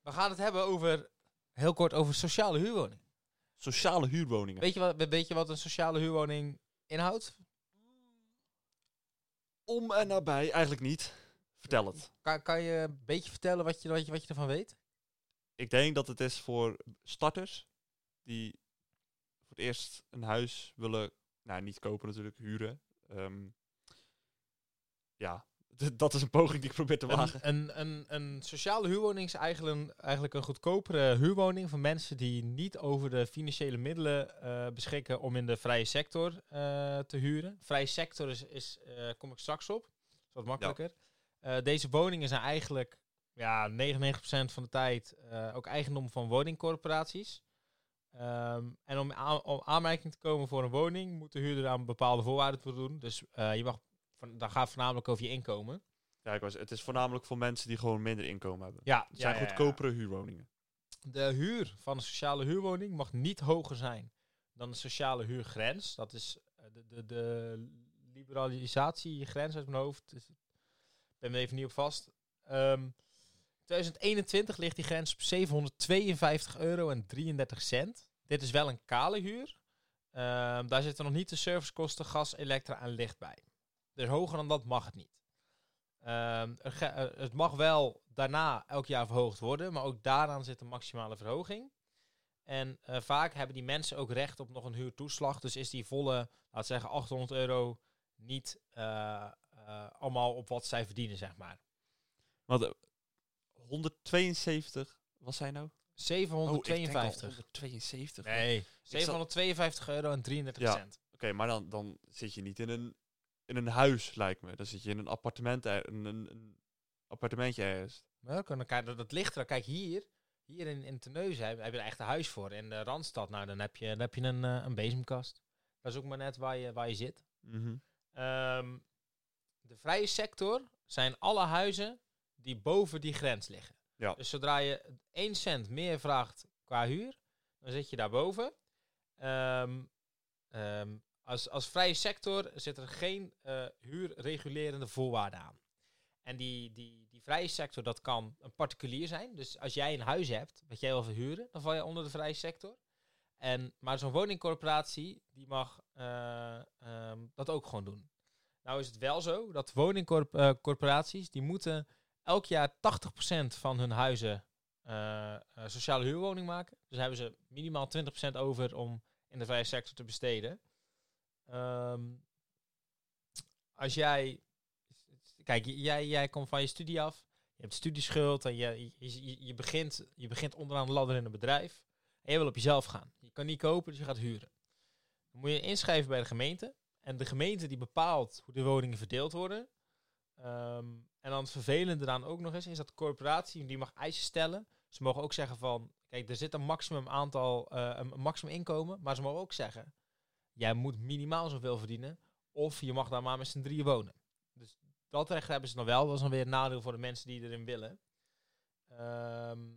Speaker 1: We gaan het hebben over, heel kort, over sociale huurwoning.
Speaker 2: Sociale huurwoningen.
Speaker 1: Weet je wat, weet je wat een sociale huurwoning inhoudt?
Speaker 2: Om en nabij, eigenlijk niet. Vertel het.
Speaker 1: Kan, kan je een beetje vertellen wat je, wat je, wat je ervan weet?
Speaker 2: ik denk dat het is voor starters die voor het eerst een huis willen, nou niet kopen natuurlijk, huren. Ehm, ja, d- dat is een poging die ik probeer te wagen.
Speaker 1: Een, een, een, een sociale huurwoning is eigenlijk een, eigenlijk een goedkopere huurwoning voor mensen die niet over de financiële middelen eh, beschikken om in de vrije sector eh, te huren. Vrije sector is, is eh, kom ik straks op, is wat makkelijker. Eh, deze woningen zijn eigenlijk ja, 99% van de tijd eh, ook eigendom van woningcorporaties. Ehm, en om, aan, om aanmerking te komen voor een woning moet de huurder aan bepaalde voorwaarden voldoen. Dus eh, je mag, van, dat gaat voornamelijk over je inkomen.
Speaker 2: Ja, ik was, het is voornamelijk voor mensen die gewoon minder inkomen hebben.
Speaker 1: Ja,
Speaker 2: Het zijn
Speaker 1: ja, ja, ja.
Speaker 2: goedkopere huurwoningen.
Speaker 1: De huur van een sociale huurwoning mag niet hoger zijn dan de sociale huurgrens. Dat is eh, de, de, de liberalisatiegrens uit mijn hoofd. Dus ik ben er even niet op vast. Ehm 2021 ligt die grens op 752 euro en 33 cent. Dit is wel een kale huur. Ehm, daar zitten nog niet de servicekosten, gas, elektra en licht bij. Dus hoger dan dat mag het niet. Ehm, er ge- eh, het mag wel daarna elk jaar verhoogd worden, maar ook daaraan zit een maximale verhoging. En eh, vaak hebben die mensen ook recht op nog een huurtoeslag. Dus is die volle, laat zeggen, 800 euro niet eh, eh, allemaal op wat zij verdienen, zeg maar.
Speaker 2: Want eh, 172, wat zijn nou? Oh, ik denk al
Speaker 1: 752.
Speaker 2: 172. Oké,
Speaker 1: nee, 752 euro en 33
Speaker 2: Ja.
Speaker 1: cent.
Speaker 2: maar dan, dan zit je niet in een, in een huis, lijkt me. Dan zit je in een appartement, er- een, een, een appartementje ergens.
Speaker 1: Nou, kan elkaar, dat, dat ligt er. Kijk, hier, hier in, in Terneuzen heb, heb je er echt een huis voor. In de Randstad, nou, dan heb je, dan heb je een, eh, een bezemkast. Dat is ook maar net waar je, waar je zit.
Speaker 2: Mhm.
Speaker 1: Ehm, de vrije sector zijn alle huizen die boven die grens liggen.
Speaker 2: Ja.
Speaker 1: Dus zodra je 1 cent meer vraagt qua huur, dan zit je daarboven. Ehm ehm, als, als vrije sector zit er geen eh, huurregulerende voorwaarden aan. En die, die, die vrije sector, dat kan een particulier zijn. Dus als jij een huis hebt wat jij wil verhuren, dan val je onder de vrije sector. En, maar zo'n woningcorporatie, die mag eh, ehm, dat ook gewoon doen. Nou is het wel zo dat woningcorporaties, die moeten elk jaar 80% van hun huizen eh, eh, sociale huurwoning maken. Dus hebben ze minimaal 20% over om in de vrije sector te besteden. Ehm, als jij... Kijk, j- jij, jij komt van je studie af. Je hebt studieschuld en je, je, je- je, begint, je begint onderaan de ladder in een bedrijf. En je wil op jezelf gaan. Je kan niet kopen, dus je gaat huren. Dan moet je inschrijven bij de gemeente. En de gemeente die bepaalt hoe de woningen verdeeld worden. Ehm, en dan het vervelende eraan ook nog eens, is dat de corporatie die mag eisen stellen. Ze mogen ook zeggen van, kijk, er zit een maximum aantal, eh, een een maximum inkomen. Maar ze mogen ook zeggen, jij moet minimaal zoveel verdienen. Of je mag daar maar met z'n drieën wonen. Dus dat recht hebben ze nog wel. Dat is dan weer een nadeel voor de mensen die erin willen. Ehm, Ehm,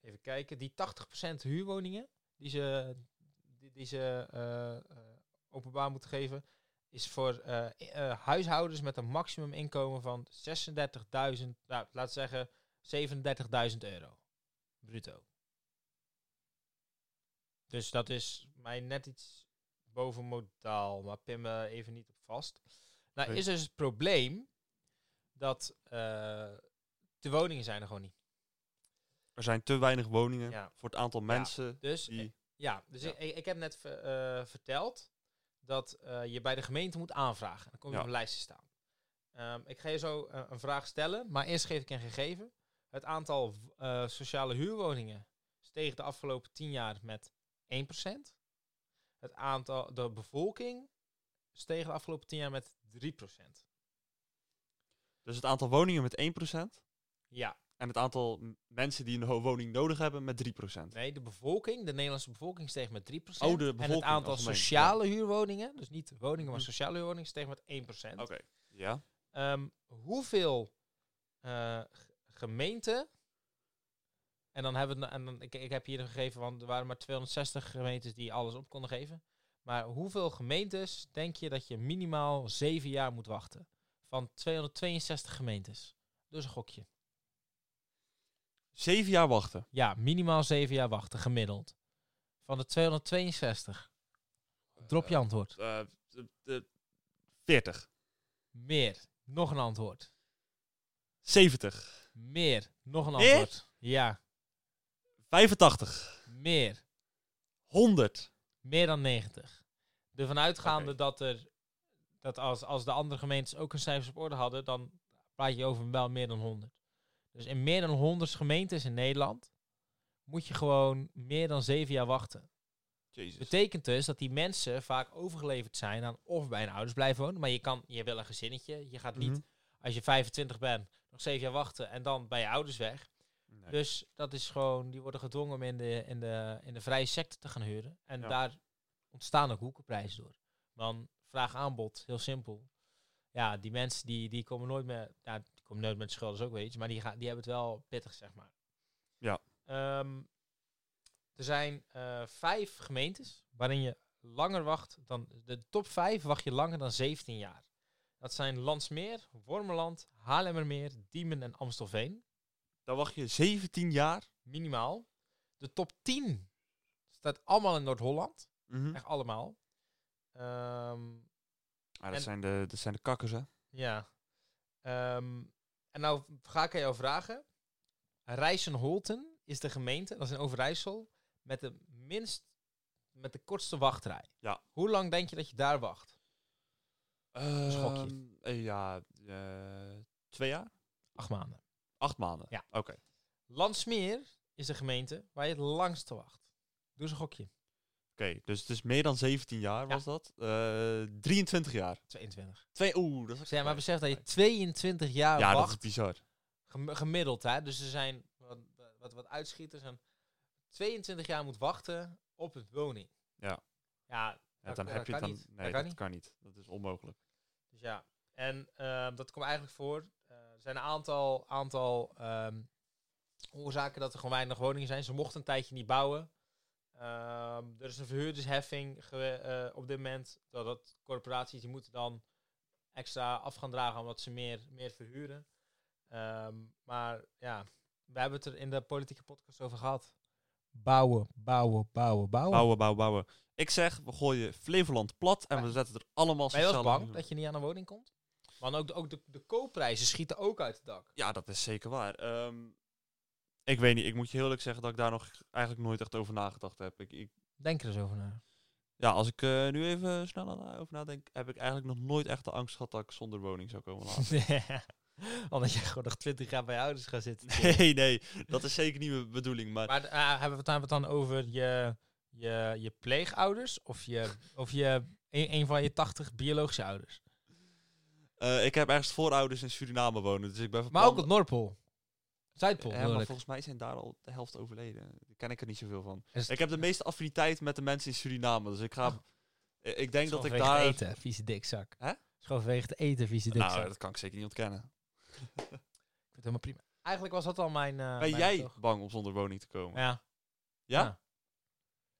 Speaker 1: even kijken. Die 80% huurwoningen die ze, die, die ze eh, eh, openbaar moeten geven, is voor eh, i- eh, huishoudens met een maximum inkomen van 36.000, nou, laten we zeggen 37.000 euro bruto. Dus dat is mij net iets boven modaal, maar pin me even niet op vast. Nou,
Speaker 2: Nee.
Speaker 1: is dus het probleem dat eh, de woningen zijn er gewoon niet.
Speaker 2: Er zijn te weinig woningen
Speaker 1: Ja.
Speaker 2: voor het aantal mensen
Speaker 1: Dus
Speaker 2: die...
Speaker 1: Ja, dus
Speaker 2: Ja.
Speaker 1: Ik, ik heb net ver- eh, verteld dat eh, je bij de gemeente moet aanvragen. Dan kom je
Speaker 2: Ja.
Speaker 1: op een lijst te staan. Ehm, ik ga je zo eh, een vraag stellen, maar eerst geef ik een gegeven. Het aantal w- eh, sociale huurwoningen steeg de afgelopen 10 jaar met 1%. Het aantal, de bevolking steeg de afgelopen 10 jaar met 3%.
Speaker 2: Dus het aantal woningen met 1%
Speaker 1: Ja,
Speaker 2: en het aantal m- mensen die een ho- woning nodig hebben met 3%.
Speaker 1: nee, de bevolking, de Nederlandse bevolking steeg met 3%.
Speaker 2: Oh, de
Speaker 1: en het
Speaker 2: bevolking
Speaker 1: aantal
Speaker 2: algemeen, ja.
Speaker 1: sociale huurwoningen, dus niet woningen, maar
Speaker 2: Mhm.
Speaker 1: sociale huurwoningen, steeg met 1%.
Speaker 2: Ja.
Speaker 1: Ehm, hoeveel eh, g- gemeenten. En dan hebben we. het na- En dan, ik, ik heb hier een gegeven, want er waren maar 260 gemeentes die alles op konden geven. Maar hoeveel gemeentes denk je dat je minimaal zeven jaar moet wachten? Van 262 gemeentes. Dus een gokje.
Speaker 2: Zeven jaar wachten.
Speaker 1: Ja, minimaal zeven jaar wachten, gemiddeld. Van de 262. Drop je antwoord.
Speaker 2: Eh, de- de- 40.
Speaker 1: Meer. Nog een antwoord.
Speaker 2: 70.
Speaker 1: Meer. Nog een
Speaker 2: Meer?
Speaker 1: antwoord. Ja.
Speaker 2: 85.
Speaker 1: Meer.
Speaker 2: 100.
Speaker 1: Meer dan 90. Ervan uitgaande
Speaker 2: Oké.
Speaker 1: dat er dat als, als de andere gemeentes ook hun cijfers op orde hadden, dan praat je over wel meer dan 100. Dus in meer dan 100 gemeentes in Nederland moet je gewoon meer dan 7 jaar wachten.
Speaker 2: Jezus.
Speaker 1: Betekent dus dat die mensen vaak overgeleverd zijn aan of bij hun ouders blijven wonen, maar je kan, je wil een gezinnetje, je gaat niet
Speaker 2: Mhm.
Speaker 1: als je 25 bent nog 7 jaar wachten en dan bij je ouders weg.
Speaker 2: Mhm. Nee.
Speaker 1: Dus dat is gewoon, die worden gedwongen om in de, in de, in de vrije sector te gaan huren. En
Speaker 2: Ja.
Speaker 1: daar ontstaan ook hoekenprijzen door. Want vraag aanbod, heel simpel. Ja, die mensen die, die komen nooit meer, ja, die komen nooit met schulden, is ook weer iets, maar die, gaan, die hebben het wel pittig, zeg maar.
Speaker 2: Ja.
Speaker 1: Ehm, er zijn eh, vijf gemeentes waarin je langer wacht dan, de top vijf wacht je langer dan 17 jaar. Dat zijn Landsmeer, Wormeland, Haarlemmermeer, Diemen en Amstelveen
Speaker 2: Dan wacht je 17 jaar.
Speaker 1: minimaal. De top 10 staat allemaal in Noord-Holland.
Speaker 2: Mhm.
Speaker 1: Echt allemaal. Ehm,
Speaker 2: Ah, dat,
Speaker 1: en-
Speaker 2: zijn de, dat zijn de kakkers, hè?
Speaker 1: ja. Ehm, en nou ga ik aan jou vragen. Rijssen-Holten is de gemeente, dat is in Overijssel, met de minst, met de kortste wachtrij.
Speaker 2: Ja.
Speaker 1: Hoe lang denk je dat je daar wacht? schokje.
Speaker 2: Ehm, eh, ja, eh, twee jaar?
Speaker 1: Acht maanden.
Speaker 2: Acht maanden.
Speaker 1: Ja.
Speaker 2: Oké.
Speaker 1: Landsmeer is de gemeente waar je het langste wacht. Doe eens een gokje.
Speaker 2: Oké, dus het is meer dan 17 jaar was dat. Eh, 23 jaar.
Speaker 1: 22.
Speaker 2: Twee, oeh, dat is
Speaker 1: Zeg maar
Speaker 2: hartstikke
Speaker 1: besef dat je 22 jaar
Speaker 2: ja, dat
Speaker 1: wacht.
Speaker 2: is bizar.
Speaker 1: gem- gemiddeld, hè? Dus er zijn wat, wat, wat uitschieters en 22 jaar moet wachten op een woning.
Speaker 2: Ja.
Speaker 1: Ja,
Speaker 2: Ja,
Speaker 1: Dat-
Speaker 2: dan
Speaker 1: dat
Speaker 2: heb je
Speaker 1: kan
Speaker 2: het dan,
Speaker 1: niet.
Speaker 2: Nee, dat kan,
Speaker 1: Dat
Speaker 2: niet. Dat is onmogelijk.
Speaker 1: dus ja. En ehm, dat komt eigenlijk voor. eh, er zijn een aantal, aantal ehm, oorzaken dat er gewoon weinig woningen zijn. Ze mochten een tijdje niet bouwen. Ehm, er is een verhuurdersheffing gewe- eh, op dit moment. Dat, dat corporaties die moeten dan extra af gaan dragen omdat ze meer, meer verhuren. Ehm, maar ja, we hebben het er in de politieke podcast over gehad. Bouwen, bouwen, bouwen, bouwen.
Speaker 2: Bouwen, bouwen, bouwen. Ik zeg, we gooien Flevoland plat en
Speaker 1: Maar-
Speaker 2: we zetten er allemaal
Speaker 1: Ben je wel eens
Speaker 2: sociale
Speaker 1: bang
Speaker 2: huur-
Speaker 1: dat je niet aan een woning komt? Want ook de, ook de, de koopprijzen schieten ook uit het dak.
Speaker 2: Ja, dat is zeker waar. Ehm, ik weet niet, ik moet je heel eerlijk zeggen dat ik daar nog eigenlijk nooit echt over nagedacht heb. Ik, ik,
Speaker 1: Denk er eens over na.
Speaker 2: ja, als ik eh, nu even snel aan- over nadenk, heb ik eigenlijk nog nooit echt de angst gehad dat ik zonder woning zou komen laten.
Speaker 1: Omdat je gewoon nog twintig jaar bij je ouders gaat zitten.
Speaker 2: nee, nee, dat is zeker niet mijn bedoeling. Maar
Speaker 1: Maar eh, hebben, we het, hebben we het dan over je, je, je pleegouders of je, of je een, een van je tachtig biologische ouders?
Speaker 2: eh, ik heb ergens voorouders in Suriname wonen, dus ik ben van
Speaker 1: Maar ook
Speaker 2: plan-
Speaker 1: op Noordpool. Zuidpool,
Speaker 2: Ja, maar
Speaker 1: natuurlijk.
Speaker 2: volgens mij zijn daar al de helft overleden. Daar ken ik er niet zoveel van.
Speaker 1: Is Dus het-
Speaker 2: Ik heb de meeste affiniteit met de mensen in Suriname. Dus ik ga.
Speaker 1: Oh.
Speaker 2: Ik- Ik denk dat ik
Speaker 1: Schoon vanwege
Speaker 2: daar. Nou,
Speaker 1: het eten, vieze dikzak.
Speaker 2: Hè? eh,
Speaker 1: Het is gewoon vanwege het eten, vieze dikzak.
Speaker 2: Nou, dat kan ik zeker niet ontkennen.
Speaker 1: Ik vind het helemaal prima. Eigenlijk was dat al mijn... eh,
Speaker 2: ben
Speaker 1: mijn
Speaker 2: jij
Speaker 1: betoog.
Speaker 2: bang om zonder woning te komen?
Speaker 1: Ja.
Speaker 2: Ja?
Speaker 1: Ja.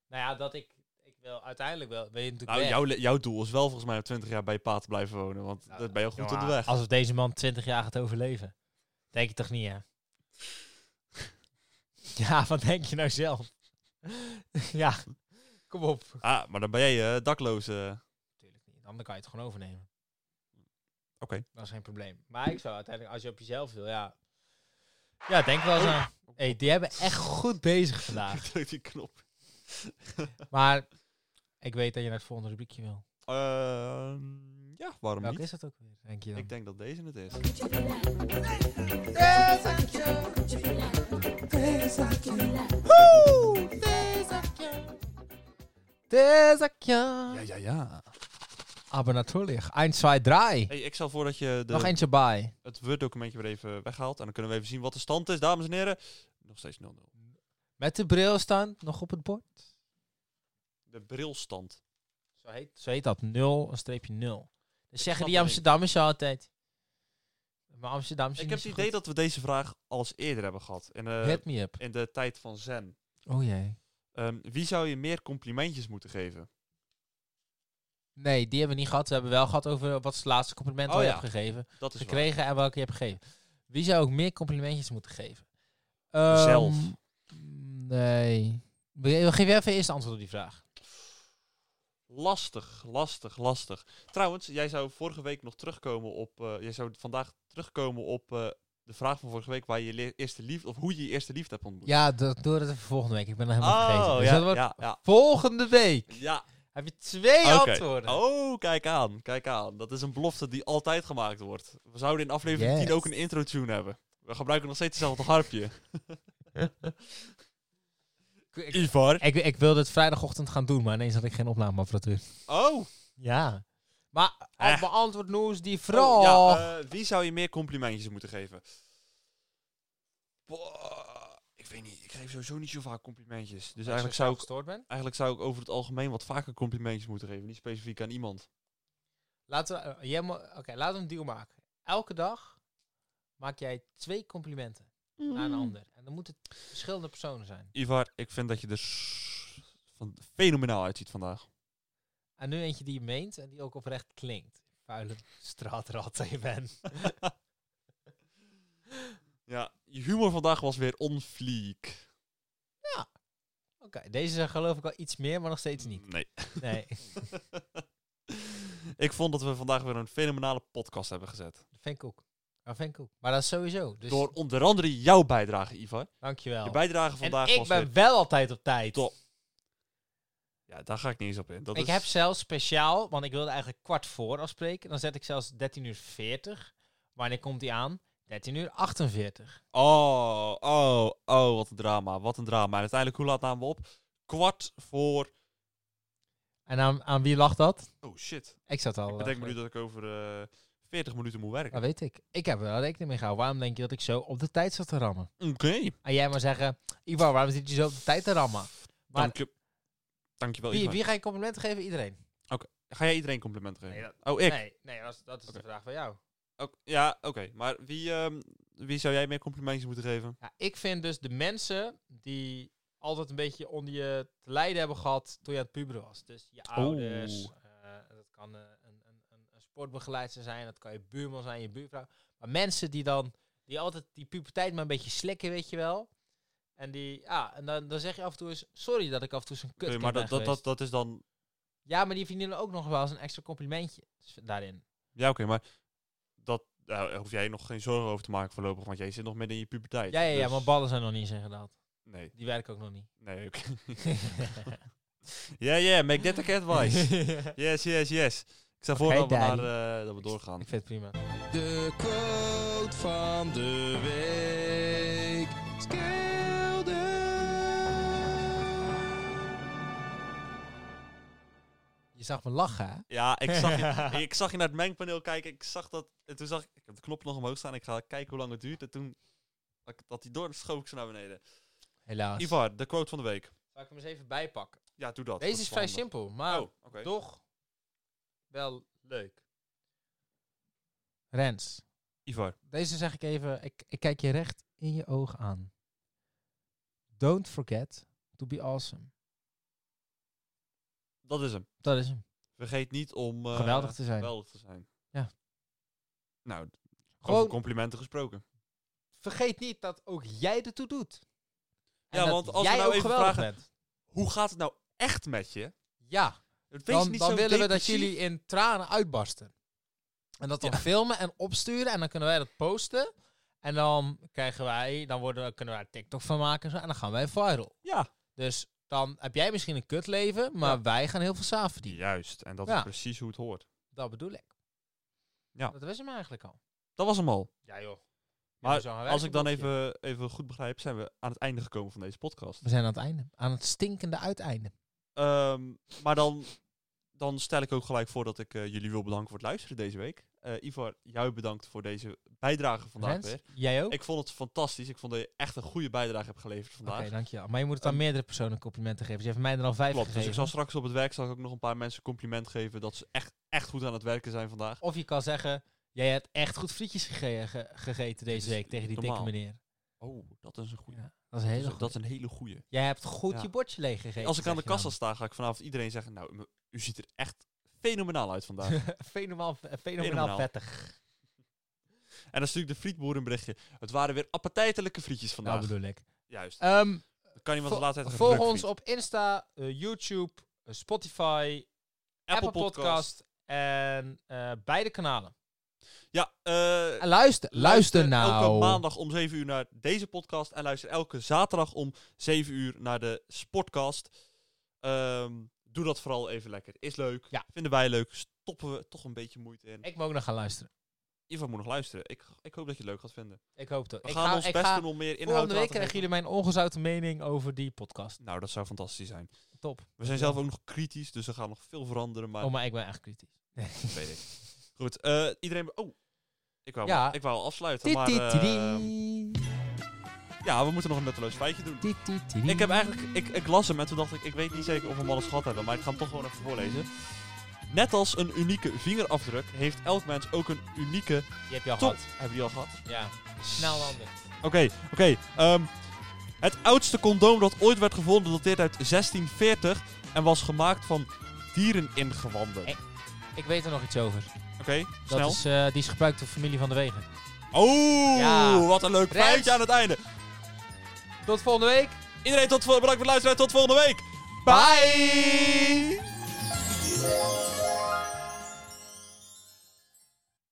Speaker 1: Nou ja, dat ik, ik wil uiteindelijk wel. Weet je natuurlijk
Speaker 2: Nou,
Speaker 1: weg.
Speaker 2: jouw, le- jouw doel is wel volgens mij om 20 jaar bij je pa te blijven wonen. Want
Speaker 1: Nou,
Speaker 2: dat ben je al goed
Speaker 1: jongen,
Speaker 2: op de weg.
Speaker 1: Als deze man 20 jaar gaat overleven, denk je toch niet, hè? ja, wat denk je nou zelf? ja, kom op.
Speaker 2: Ah, maar dan ben jij eh dakloos. eh.
Speaker 1: Natuurlijk niet. Dan kan je het gewoon overnemen.
Speaker 2: Oké.
Speaker 1: Dat is geen probleem. Maar ik zou uiteindelijk, als je op jezelf wil, ja. Ja, denk wel eens aan. hey, die hebben echt goed bezig vandaag.
Speaker 2: Ik druk die knop.
Speaker 1: Maar ik weet dat je naar het volgende rubriekje wil.
Speaker 2: Ehm, ja, waarom
Speaker 1: Welke
Speaker 2: niet?
Speaker 1: is dat ook weer? Denk je dan?
Speaker 2: Ik denk dat deze het is.
Speaker 1: Desakje.
Speaker 2: ja, ja.
Speaker 1: Aber natuurlijk. 1, 2, 3.
Speaker 2: Hey, ik stel voor dat je de,
Speaker 1: Nog eentje bij.
Speaker 2: het Word-documentje weer even weghaalt. En dan kunnen we even zien wat de stand is, dames en heren. Nog steeds 0-0.
Speaker 1: Met de bril staan, nog op het bord.
Speaker 2: De brilstand.
Speaker 1: Zo heet, zo heet dat, 0, een streepje 0. Dus zeggen
Speaker 2: snap
Speaker 1: die
Speaker 2: het
Speaker 1: Amsterdammers altijd. Maar Amsterdammers
Speaker 2: Ik heb
Speaker 1: niet
Speaker 2: het
Speaker 1: zo
Speaker 2: idee dat we deze vraag al eens eerder hebben gehad. In, eh,
Speaker 1: goed. Hit me up.
Speaker 2: in de tijd van Zen.
Speaker 1: Oh jee.
Speaker 2: Ehm, wie zou je meer complimentjes moeten geven?
Speaker 1: Nee, die hebben we niet gehad. We hebben wel gehad over wat is het laatste compliment
Speaker 2: Oh
Speaker 1: dat je
Speaker 2: ja.
Speaker 1: hebt gegeven.
Speaker 2: Dat is waar.
Speaker 1: Gekregen en welke je hebt gegeven. Wie zou ook meer complimentjes moeten geven? Ehm,
Speaker 2: Zelf.
Speaker 1: Nee. Ge- Geef jij even eerst antwoord op die vraag.
Speaker 2: Lastig, lastig, lastig. Trouwens, jij zou vorige week nog terugkomen op. eh, jij zou vandaag terugkomen op eh, de vraag van vorige week waar je le- eerste liefde of hoe je je eerste liefde hebt ontmoet.
Speaker 1: Ja, dat doe dat even volgende week. Ik ben dat helemaal vergeten.
Speaker 2: oh,
Speaker 1: Dus
Speaker 2: ja,
Speaker 1: dat wordt
Speaker 2: ja, ja,
Speaker 1: volgende week.
Speaker 2: ja.
Speaker 1: Heb je twee
Speaker 2: Oké.
Speaker 1: antwoorden?
Speaker 2: Oh, kijk aan, kijk aan. Dat is een belofte die altijd gemaakt wordt. We zouden in aflevering
Speaker 1: Yes.
Speaker 2: 10 ook een intro tune hebben. We gebruiken nog steeds hetzelfde harpje.
Speaker 1: Ik, ik,
Speaker 2: Ivar.
Speaker 1: ik, ik wilde het vrijdagochtend gaan doen, maar ineens had ik geen opnameapparatuur.
Speaker 2: Oh.
Speaker 1: Ja. Maar
Speaker 2: Eh.
Speaker 1: eh. beantwoord nu eens die vraag.
Speaker 2: Oh, ja, eh, wie zou je meer complimentjes moeten geven? Boah, ik weet niet. Ik geef sowieso niet zo vaak complimentjes. Dus eigenlijk zou, ik,
Speaker 1: gestoord ben.
Speaker 2: eigenlijk zou ik over het algemeen wat vaker complimentjes moeten geven. Niet specifiek aan iemand.
Speaker 1: Laten we, eh, jij mo- Oké, laten we een deal maken. Elke dag maak jij twee complimenten aan een ander. En dan moeten het verschillende personen zijn.
Speaker 2: Ivar, ik vind dat je er s- van fenomenaal uitziet vandaag.
Speaker 1: En nu eentje die je meent en die ook oprecht klinkt. Vuile straatrat dat je bent.
Speaker 2: Ja, je humor vandaag was weer on fleek.
Speaker 1: Oké, deze zijn geloof ik al iets meer, maar nog steeds niet.
Speaker 2: Nee.
Speaker 1: Nee,
Speaker 2: ik vond dat we vandaag weer een fenomenale podcast hebben gezet.
Speaker 1: dat vind ik ook. Dat vind ik ook. Maar dat is sowieso. Dus
Speaker 2: Door onder andere jouw bijdrage, Ivar.
Speaker 1: dankjewel.
Speaker 2: Je bijdrage vandaag
Speaker 1: en ik
Speaker 2: was
Speaker 1: ben
Speaker 2: weer...
Speaker 1: wel altijd op tijd.
Speaker 2: Top. Ja, daar ga ik niet eens op in. Dat
Speaker 1: ik
Speaker 2: is...
Speaker 1: heb zelfs speciaal, want ik wilde eigenlijk kwart voor afspreken. Dan zet ik zelfs 13 uur 40. Wanneer komt die aan? 13 uur 48.
Speaker 2: Oh, oh, oh, wat een drama, wat een drama. En uiteindelijk, hoe laat namen we op? Kwart voor...
Speaker 1: En aan, aan wie lag dat?
Speaker 2: Oh, shit.
Speaker 1: Ik zat al.
Speaker 2: Ik
Speaker 1: eh,
Speaker 2: bedenk me nu dat ik over eh 40 minuten moet werken.
Speaker 1: Dat weet ik. Ik heb er wel rekening mee gehouden. Waarom denk je dat ik zo op de tijd zat te rammen?
Speaker 2: Oké,
Speaker 1: En jij maar zeggen, Ivar, waarom zit je zo op de tijd te rammen? Maar-
Speaker 2: dank je. Dankjewel,
Speaker 1: Wie,
Speaker 2: Ivar.
Speaker 1: wie ga je complimenten geven? Iedereen.
Speaker 2: Ga jij iedereen complimenten geven?
Speaker 1: Nee,
Speaker 2: Oh, ik?
Speaker 1: Nee, nee dat is, dat is
Speaker 2: Oké.
Speaker 1: de vraag van jou.
Speaker 2: Ook- ja, oké. Maar wie, ehm, wie zou jij meer complimentjes moeten geven?
Speaker 1: Ja, ik vind dus de mensen die altijd een beetje onder je te lijden hebben gehad toen je aan het puberen was. Dus je ouders, eh, dat kan eh, een, een, een, een sportbegeleidster zijn, dat kan je buurman zijn, je buurvrouw. Maar mensen die dan, die altijd die puberteit maar een beetje slikken, weet je wel. En die, ja, en dan, dan zeg je af en toe eens, sorry dat ik af en toe zo'n kut
Speaker 2: Oké, maar dat, dat, dat, dat is dan...
Speaker 1: Ja, maar die verdienen ook nog wel eens een extra complimentje dus daarin.
Speaker 2: Ja, oké, maar dat, daar hoef jij nog geen zorgen over te maken voorlopig, want jij zit nog midden in je puberteit.
Speaker 1: Ja, ja, ja,
Speaker 2: Dus-
Speaker 1: maar ballen zijn nog niet zijn gedaan.
Speaker 2: Nee,
Speaker 1: Die werken ook nog niet.
Speaker 2: nee, oké. Ja, ja, make that a cat voice. Yes, yes, yes. Ik stel voor
Speaker 1: Oké,
Speaker 2: dat, we naar,
Speaker 1: daddy.
Speaker 2: eh, dat we doorgaan.
Speaker 1: ik vind het prima.
Speaker 4: De quote van de week.
Speaker 1: Je zag me lachen, hè?
Speaker 2: Ja, ik zag, je, ik zag je naar het mengpaneel kijken. Ik zag dat. En toen zag ik. Ik heb de knop nog omhoog staan. Ik ga kijken hoe lang het duurt. En toen. had ik- Dat die door schoof ik ze naar beneden.
Speaker 1: Helaas.
Speaker 2: Ivar, de quote van de week.
Speaker 1: Zal ik hem eens even bijpakken?
Speaker 2: Ja, doe dat. Dat
Speaker 1: Deze is
Speaker 2: wel
Speaker 1: vrij
Speaker 2: handig.
Speaker 1: simpel, maar
Speaker 2: Oh, oké.
Speaker 1: toch wel leuk. Rens,
Speaker 2: Ivar.
Speaker 1: deze zeg ik even, ik, ik kijk je recht in je oog aan. Don't forget to be awesome.
Speaker 2: Dat is hem.
Speaker 1: Dat is hem.
Speaker 2: Vergeet niet om eh,
Speaker 1: Geweldig te zijn.
Speaker 2: geweldig te zijn.
Speaker 1: Ja.
Speaker 2: Nou,
Speaker 1: Gewoon-
Speaker 2: over complimenten gesproken.
Speaker 1: Vergeet niet dat ook jij ertoe doet.
Speaker 2: Ja,
Speaker 1: dat
Speaker 2: want als we
Speaker 1: jij
Speaker 2: nou
Speaker 1: ook
Speaker 2: even
Speaker 1: geweldig
Speaker 2: vragen-
Speaker 1: bent.
Speaker 2: Hoe gaat het nou echt met je?
Speaker 1: Ja.
Speaker 2: Wees
Speaker 1: dan,
Speaker 2: niet
Speaker 1: dan
Speaker 2: zo
Speaker 1: willen we dat
Speaker 2: depressief.
Speaker 1: jullie in tranen uitbarsten. En dat dan
Speaker 2: Ja.
Speaker 1: filmen en opsturen. En dan kunnen wij dat posten. En dan krijgen wij, dan worden, kunnen wij er TikTok van maken. En, zo, en dan gaan wij viral.
Speaker 2: Ja.
Speaker 1: Dus dan heb jij misschien een kutleven, maar
Speaker 2: Ja.
Speaker 1: wij gaan heel veel zaaf verdienen.
Speaker 2: Juist, en dat
Speaker 1: Ja.
Speaker 2: is precies hoe het hoort.
Speaker 1: Dat bedoel ik.
Speaker 2: Ja.
Speaker 1: Dat was hem eigenlijk al.
Speaker 2: Dat was hem al.
Speaker 1: Ja joh.
Speaker 2: Maar als ik dan even, even goed begrijp, zijn we aan het einde gekomen van deze podcast.
Speaker 1: We zijn aan het einde. Aan het stinkende uiteinde.
Speaker 2: Ehm, maar dan, dan stel ik ook gelijk voor dat ik eh, jullie wil bedanken voor het luisteren deze week. Eh, Ivar, jou bedankt voor deze bijdrage vandaag
Speaker 1: Rens,
Speaker 2: weer.
Speaker 1: jij ook?
Speaker 2: Ik vond het fantastisch. Ik vond dat je echt een goede bijdrage hebt geleverd
Speaker 1: Oké,
Speaker 2: vandaag.
Speaker 1: dankjewel. Maar je moet het aan meerdere personen complimenten geven. Dus je hebt mij er al vijf
Speaker 2: Klopt. Dus
Speaker 1: gegeven.
Speaker 2: ik zal straks op het werk zal ik ook nog een paar mensen compliment geven dat ze echt, echt goed aan het werken zijn vandaag.
Speaker 1: Of je kan zeggen, jij hebt echt goed frietjes gege- ge- gegeten
Speaker 2: Dit
Speaker 1: deze
Speaker 2: is
Speaker 1: week tegen die
Speaker 2: normaal.
Speaker 1: dikke meneer.
Speaker 2: Oh, dat is een goede.
Speaker 1: Ja, dat is een hele
Speaker 2: dat,
Speaker 1: goede.
Speaker 2: is, dat is een hele goede.
Speaker 1: Jij hebt goed
Speaker 2: Ja.
Speaker 1: je bordje leeg gegeten.
Speaker 2: Als ik aan de
Speaker 1: zeg je
Speaker 2: kassa sta, ga ik vanavond iedereen zeggen: Nou, m- u ziet er echt fenomenaal uit vandaag.
Speaker 1: dan. fenomenaal, eh, fenomenaal
Speaker 2: Fenomenaal.
Speaker 1: vettig.
Speaker 2: en dan stuur ik de frietboer een berichtje. Het waren weer appetijtelijke frietjes
Speaker 1: Dat
Speaker 2: vandaag.
Speaker 1: Nou, bedoel ik.
Speaker 2: Juist.
Speaker 1: Ehm,
Speaker 2: Dan kan iemand
Speaker 1: vo-
Speaker 2: de laatste tijd
Speaker 1: volg ons op Insta, eh, YouTube, eh, Spotify, Apple, Podcast, en eh, beide kanalen.
Speaker 2: Ja, eh,
Speaker 1: En luister, luister,
Speaker 2: Elke
Speaker 1: nou.
Speaker 2: maandag om 7 uur naar deze podcast. En luister elke zaterdag om 7 uur naar de Sportcast. Ehm, doe dat vooral even lekker. Is leuk.
Speaker 1: Ja.
Speaker 2: Vinden wij leuk. Stoppen we toch een beetje moeite in.
Speaker 1: Ik moet ook nog gaan luisteren.
Speaker 2: Ivan moet nog luisteren. Ik, ik hoop dat je het leuk gaat vinden.
Speaker 1: Ik hoop het. ook.
Speaker 2: We
Speaker 1: ik
Speaker 2: gaan
Speaker 1: ga,
Speaker 2: ons
Speaker 1: ik
Speaker 2: best
Speaker 1: ga,
Speaker 2: doen om meer inhoud
Speaker 1: volgende
Speaker 2: te
Speaker 1: week
Speaker 2: laten
Speaker 1: krijgen
Speaker 2: geven.
Speaker 1: jullie mijn ongezouten mening over die podcast.
Speaker 2: Nou, dat zou fantastisch zijn.
Speaker 1: Top.
Speaker 2: We zijn zelf ook nog kritisch, dus er gaan nog veel veranderen. Maar
Speaker 1: Oh, maar ik ben echt kritisch.
Speaker 2: dat weet ik. Goed, eh, iedereen... Oh, ik wou,
Speaker 1: Ja.
Speaker 2: ik wou al afsluiten,
Speaker 1: Tiet,
Speaker 2: maar...
Speaker 1: tiet, tiet,
Speaker 2: ehm, ja, we moeten nog een nutteloos feitje doen.
Speaker 1: tiet, tiet, tiet.
Speaker 2: Ik heb eigenlijk, ik, ik las hem en toen dacht ik, ik weet niet zeker of we hem al eens gehad hebben, maar ik ga hem toch gewoon even voorlezen. Net als een unieke vingerafdruk heeft elk mens ook een unieke
Speaker 1: Die heb je al
Speaker 2: tong.
Speaker 1: gehad.
Speaker 2: Hebben die al gehad?
Speaker 1: Ja. Snel ander.
Speaker 2: Oké, oké. ehm, het oudste condoom dat ooit werd gevonden dateert uit 1640 en was gemaakt van diereningewanden.
Speaker 1: Eh, Ik weet er nog iets over.
Speaker 2: Oké,
Speaker 1: Dat
Speaker 2: snel.
Speaker 1: is, eh, die is gebruikt door familie van de Wegen.
Speaker 2: Oh,
Speaker 1: Ja.
Speaker 2: wat een leuk
Speaker 1: Rens.
Speaker 2: feitje aan het einde.
Speaker 1: Tot volgende week.
Speaker 2: Iedereen tot, vol- bedankt voor het luisteren en tot volgende week. Bye.